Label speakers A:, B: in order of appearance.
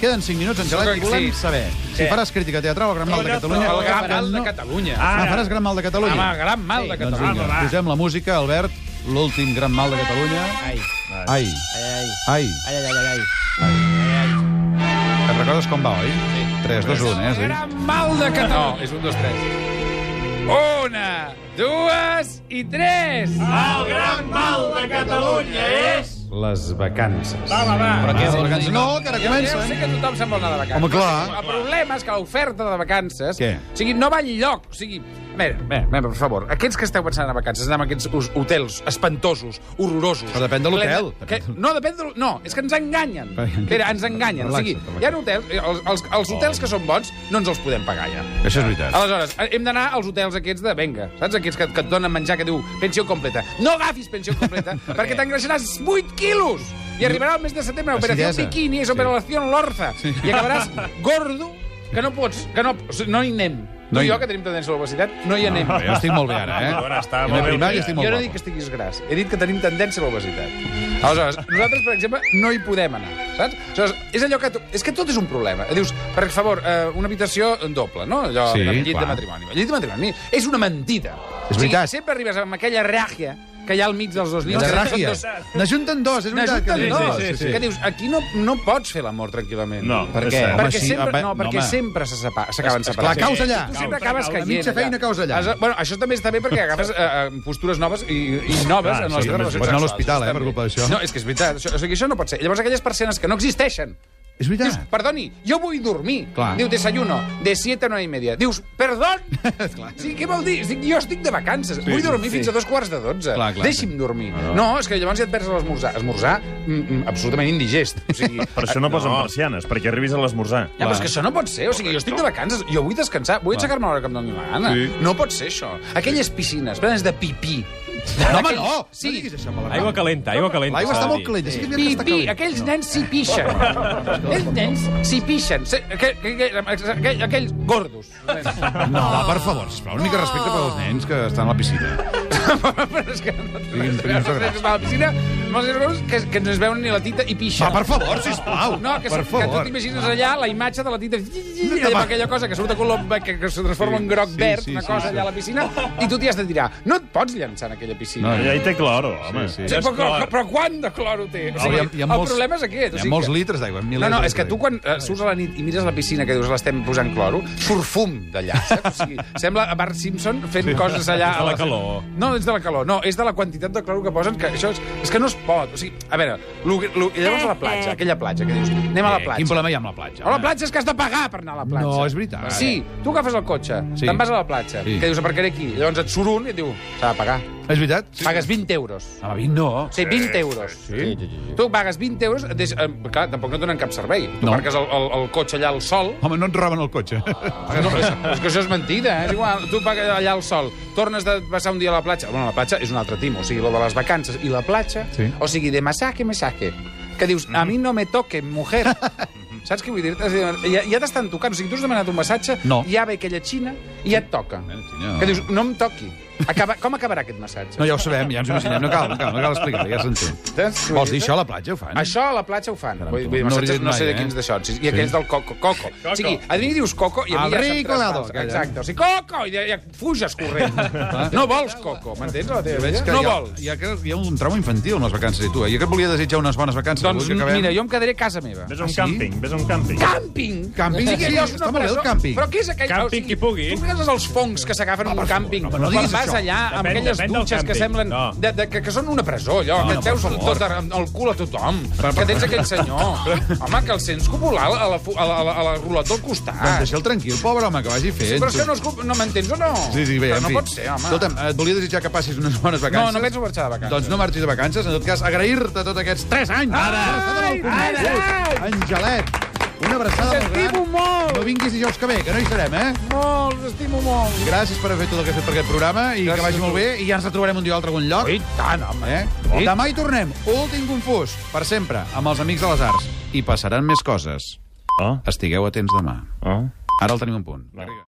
A: queden 5 minuts, Angelet,
B: que
A: i volem
B: sí.
A: saber si
B: Què?
A: faràs crítica teatral o Gran Mal de Catalunya.
B: El gran
A: que
B: mal de
A: no-
B: Catalunya.
A: Ah,
B: Ara.
A: faràs Gran Mal de Catalunya.
B: Home, el gran mal de
A: Doncs
B: Catalunya.
A: vinga, posem la música, Albert, l'últim Gran Mal de Catalunya.
C: Ai, ai,
A: Ai, ai.
C: ai, ai, ai, ai.
A: Et recordes com va, oi? 3, 2, 1, eh?
B: El
A: Sí.
B: gran mal de Catalunya. No, és un, dos, tres. Una, dues i tres.
D: Les vacances.
A: Però
B: Ah,
A: què és el Ah, vacances? No, que ara
B: Jo sé
A: comença. eh?
B: que tothom se'n vol anar de vacances.
A: Home, clar.
B: El problema és que l'oferta de vacances...
A: Què?
B: O sigui, no va enlloc. O sigui, a veure, a veure, a veure, per favor, aquests que esteu pensant en vacances, anar a aquests us- hotels espantosos, horrorosos...
A: Però depèn de l'hotel.
B: plens- Que, no, depèn de... l'ho- No, és que ens enganyen.
A: Però-
B: Espera, ens enganyen. O sigui,
A: Relaxa't,
B: hi ha hotels... eh, Els, els, els hotels que són bons no ens els podem pagar ja.
A: Això és veritat.
B: Aleshores, eh, hem d'anar als hotels aquests de venga, saps? Aquests que, que et donen menjar que diu pensió completa. No agafis pensió completa, perquè t'engreixaràs 8 quilos! I arribarà el mes de setembre l'operació
A: Acidesa.
B: Bikini, és operació Lorza, i acabaràs gordo que no pots, que no, o sigui, no hi anem.
A: No
B: No
A: hi-
B: tu i jo, que tenim tendència a l'obesitat, no hi anem.
A: Jo estic molt bé ara, eh?
E: Bueno, ara està
A: I la
E: molt bé,
A: primària
E: eh?
A: estic
B: Jo
A: molt
B: no dic
A: guapo.
B: que estiguis gras, he dit que tenim tendència a l'obesitat. Aleshores, nosaltres, per exemple, no hi podem anar, saps? Aleshores, és allò que... Tu, és que tot és un problema. Dius, per favor, eh, una habitació doble, no? Allò,
A: Sí,
B: sí, el llit
A: clar.
B: de matrimoni. El llit de matrimoni és una mentida.
A: És veritat.
B: O sigui, sempre arribes amb aquella ràgia que hi ha al mig dels dos llits.
A: De
B: que són
A: ràgia.
B: dos-
A: N'ajunten dos, és veritat.
B: N'ajunten
A: que-
B: dos.
A: Sí, sí, sí.
B: Que dius, aquí no, no pots fer l'amor tranquil·lament.
E: No,
A: Per
E: és
A: què?
E: cert.
A: Home,
B: perquè
A: sí,
B: sempre,
A: home,
B: no, perquè
A: home.
B: sempre se separ- s'acaben
A: És- és
B: separant.
A: clar, caus allà.
B: Tu sempre
E: Caus,
B: acabes
E: caus.
B: caient.
A: La mitja
B: allà.
A: feina caus allà.
B: Has- Bueno, això també està bé perquè agafes eh, eh, postures noves i, i noves
E: Clar,
B: en
E: sí,
B: les teves relacions
E: sí, pots
A: anar a
B: sexuals.
A: l'hospital, eh,
B: Està
A: per
B: bé.
A: culpa d'això.
B: No, és que és veritat. Això, o sigui, això no pot ser. Llavors, aquelles persones que no existeixen,
A: És
B: Dius,
A: veritat.
B: perdoni, jo vull dormir.
A: Clar.
B: Diu, desayuno, de 7 a 9 i media. Dius, perdon! sí, què vol dir? Estic, jo estic de vacances. vull dormir fins a dos quarts de 12.
A: Clar, Ah. clar.
B: Deixi'm dormir. No, és que llavors ja et perds a l'esmorzar. Esmorzar, mm, mm, absolutament indigest. O sigui,
E: Per això no posen persianes, perquè arribis a l'esmorzar.
B: ja, però és que això no pot ser. O sigui, jo estic de vacances, jo vull descansar, vull aixecar-me a l'hora que em doni la gana.
E: Sí.
B: No pot ser això. Aquelles piscines, plenes de pipí.
A: No, home,
B: Aquell-
A: no! No
B: Sí,
A: diguis això, me la
D: Aigua calenta, aigua calenta.
A: L'aigua està
D: s'ha de
A: molt
D: dir.
A: calenta. Sí. que és veritat que està
B: Pipí,
A: calenta.
B: aquells nens s'hi pixen. Aquells nens s'hi pixen. Se- aquell- aquell- aquell- Aquells gordos.
A: No, per favor, sisplau, una mica de respecte per als nens que estan a la piscina.
B: Però és que no
A: Digui'm, digui'm,
B: els nens que estan a la piscina, molts nens gordos que, que no es veuen ni la tita i pixen.
A: Va, Ah, per favor, sisplau.
B: No,
A: per
B: que, per que tu
A: favor.
B: t'imagines allà la imatge de la tita amb aquella cosa que surt de color, que, que se transforma en groc
A: Sí,
B: sí, verd,
A: sí,
B: sí, una
A: sí,
B: cosa
A: sí.
B: sí, allà a la piscina, i tu t'hi has de tirar. No et pots llançar en aquella piscina.
A: No,
B: No,
E: Allà hi té cloro, home.
A: Sí, sí.
B: sí, però, però, però quant de cloro té? O sigui, el problema és aquest.
A: Hi
B: o
A: ha
B: sigui
A: molts
B: que-
A: litres d'aigua, milers.
B: No, no,
A: de
B: és que tu
A: litres
B: quan eh, surts a la nit i mires la piscina que dius l'estem posant cloro, surt fum d'allà, saps? O sigui, sembla a Bart Simpson fent coses allà...
D: És de la
E: Ah,
B: a
D: calor.
B: No, és de la calor, no, és de la quantitat de cloro que posen, que això és, és que no es pot. O sigui, a veure, lo, lo, i llavors a la platja, aquella platja, que dius, anem a la
A: Eh,
B: platja.
A: Quin problema hi ha amb la platja?
B: A la
A: home?
B: platja és que has de pagar per anar a la platja.
A: No, és veritat.
B: Sí, tu agafes el cotxe,
A: Sí.
B: sí. te'n vas a la platja,
A: Sí.
B: sí. que dius, aparcaré aquí. Llavors et surt un i et diu, s'ha de pagar.
A: És veritat? Sí.
B: Pagues 20 euros.
A: Home, vint no.
B: Sí, 20 euros. Sí, sí, sí. Tu pagues 20 euros, des, eh, clar, tampoc no et donen cap servei. Tu
A: No.
B: no. marques el, el, el cotxe allà al sol...
A: Home, no ens roben el cotxe.
B: No, és, és que això és mentida, eh? és igual. Tu pagues allà al sol, tornes de passar un dia a la platja... Bueno, la platja és un altre tim, o sigui, lo de les vacances i la platja,
A: Sí.
B: sí. o sigui, de masaje, masaje. Que dius, a mi no me toque, mujer. Saps què vull dir? És a dir, Ja, ja t'estan tocant. O sigui, tu has demanat un massatge,
A: No.
B: ja ve aquella xina i ja et toca.
A: Bueno, senyor.
B: Que dius, no em toqui. Acaba, com acabarà aquest massatge?
A: No, ja ho sabem, ja ens ho imaginem. No cal, no cal, no cal explicar, ja s'entén.
B: Saps què vull
A: Vols dir això a la platja? Ho fan?
B: Això a la platja ho fan.
A: Caram,
B: Vull,
A: tu.
B: vull dir,
A: No ho
B: massatges
A: hauria dit
B: no sé
A: mai,
B: de quins
A: eh?
B: d'això. I
A: Sí.
B: aquells del coco. Coco. O sigui, a mi dius coco i a
A: Al
B: mi ja se'm
A: rico lado,
B: traspassa.
A: aquella.
B: Exacte. O sigui, coco! I ja, ja fuges corrent.
A: Ah.
B: no vols coco, m'entens? a la teva vida?
A: hi
B: No
A: ha,
B: vols.
A: Hi ha, hi ha un trauma infantil en les vacances, i tu. eh? Jo que et volia desetjar unes bones vacances. avui
B: Doncs
A: que acabem...
B: mira, jo em quedaré a casa meva.
E: Ves a
A: Ah,
E: un càmping, ves a un càmping.
B: Càmping!
A: Càmping,
B: O sigui,
A: sí,
B: allò és
A: està
B: una
A: molt bé, el
B: presó.
A: càmping.
B: Però què és aquell...
D: Càmping qui pugui.
B: Tu regates els fongs que s'agafen en un càmping.
A: no diguis
B: Quan vas
A: això.
B: allà amb
E: Depèn-
B: aquelles
E: depèn del
B: dutxes que
E: càmping.
B: semblen...
E: No.
B: De, de, que, que són una presó, allò. que et veus tot a- el cul a tothom. Que tens aquell senyor. Home, que el sents copular a la, fu- a la, a la, a la ruleta al costat.
A: Doncs deixa'l tranquil, pobre home, que vagi fent.
B: Ah. Però és que no, es culpa- no m'entens o no?
A: Sí, sí, bé,
B: Però
A: en
B: no
A: fi.
B: pot ser, home.
A: Escolta'm, et volia desitjar que passis unes bones
B: no,
A: vacances.
B: no penso marxar de vacances.
A: Doncs no marxis de vacances. En tot cas, agrair-te tots aquests 3 anys. Ara!
B: Ara!
A: ara. Angelet, una abraçada molt
B: T'estimo
A: gran.
B: molt!
A: No vinguis dijous que ve, que no hi serem, eh?
B: Molt, t'estimo molt.
A: Gràcies per haver fet tot el que has fet per aquest programa i que vagi molt bé i ja ens retrobarem un dia o altre a algun lloc.
B: I tant, home.
A: Eh? Demà hi tornem, últim confús, per sempre, amb els Amics de les Arts. I passaran més coses.
E: Oh,
A: Estigueu atents demà.
E: oh.
A: Ara el tenim un punt. Vinga.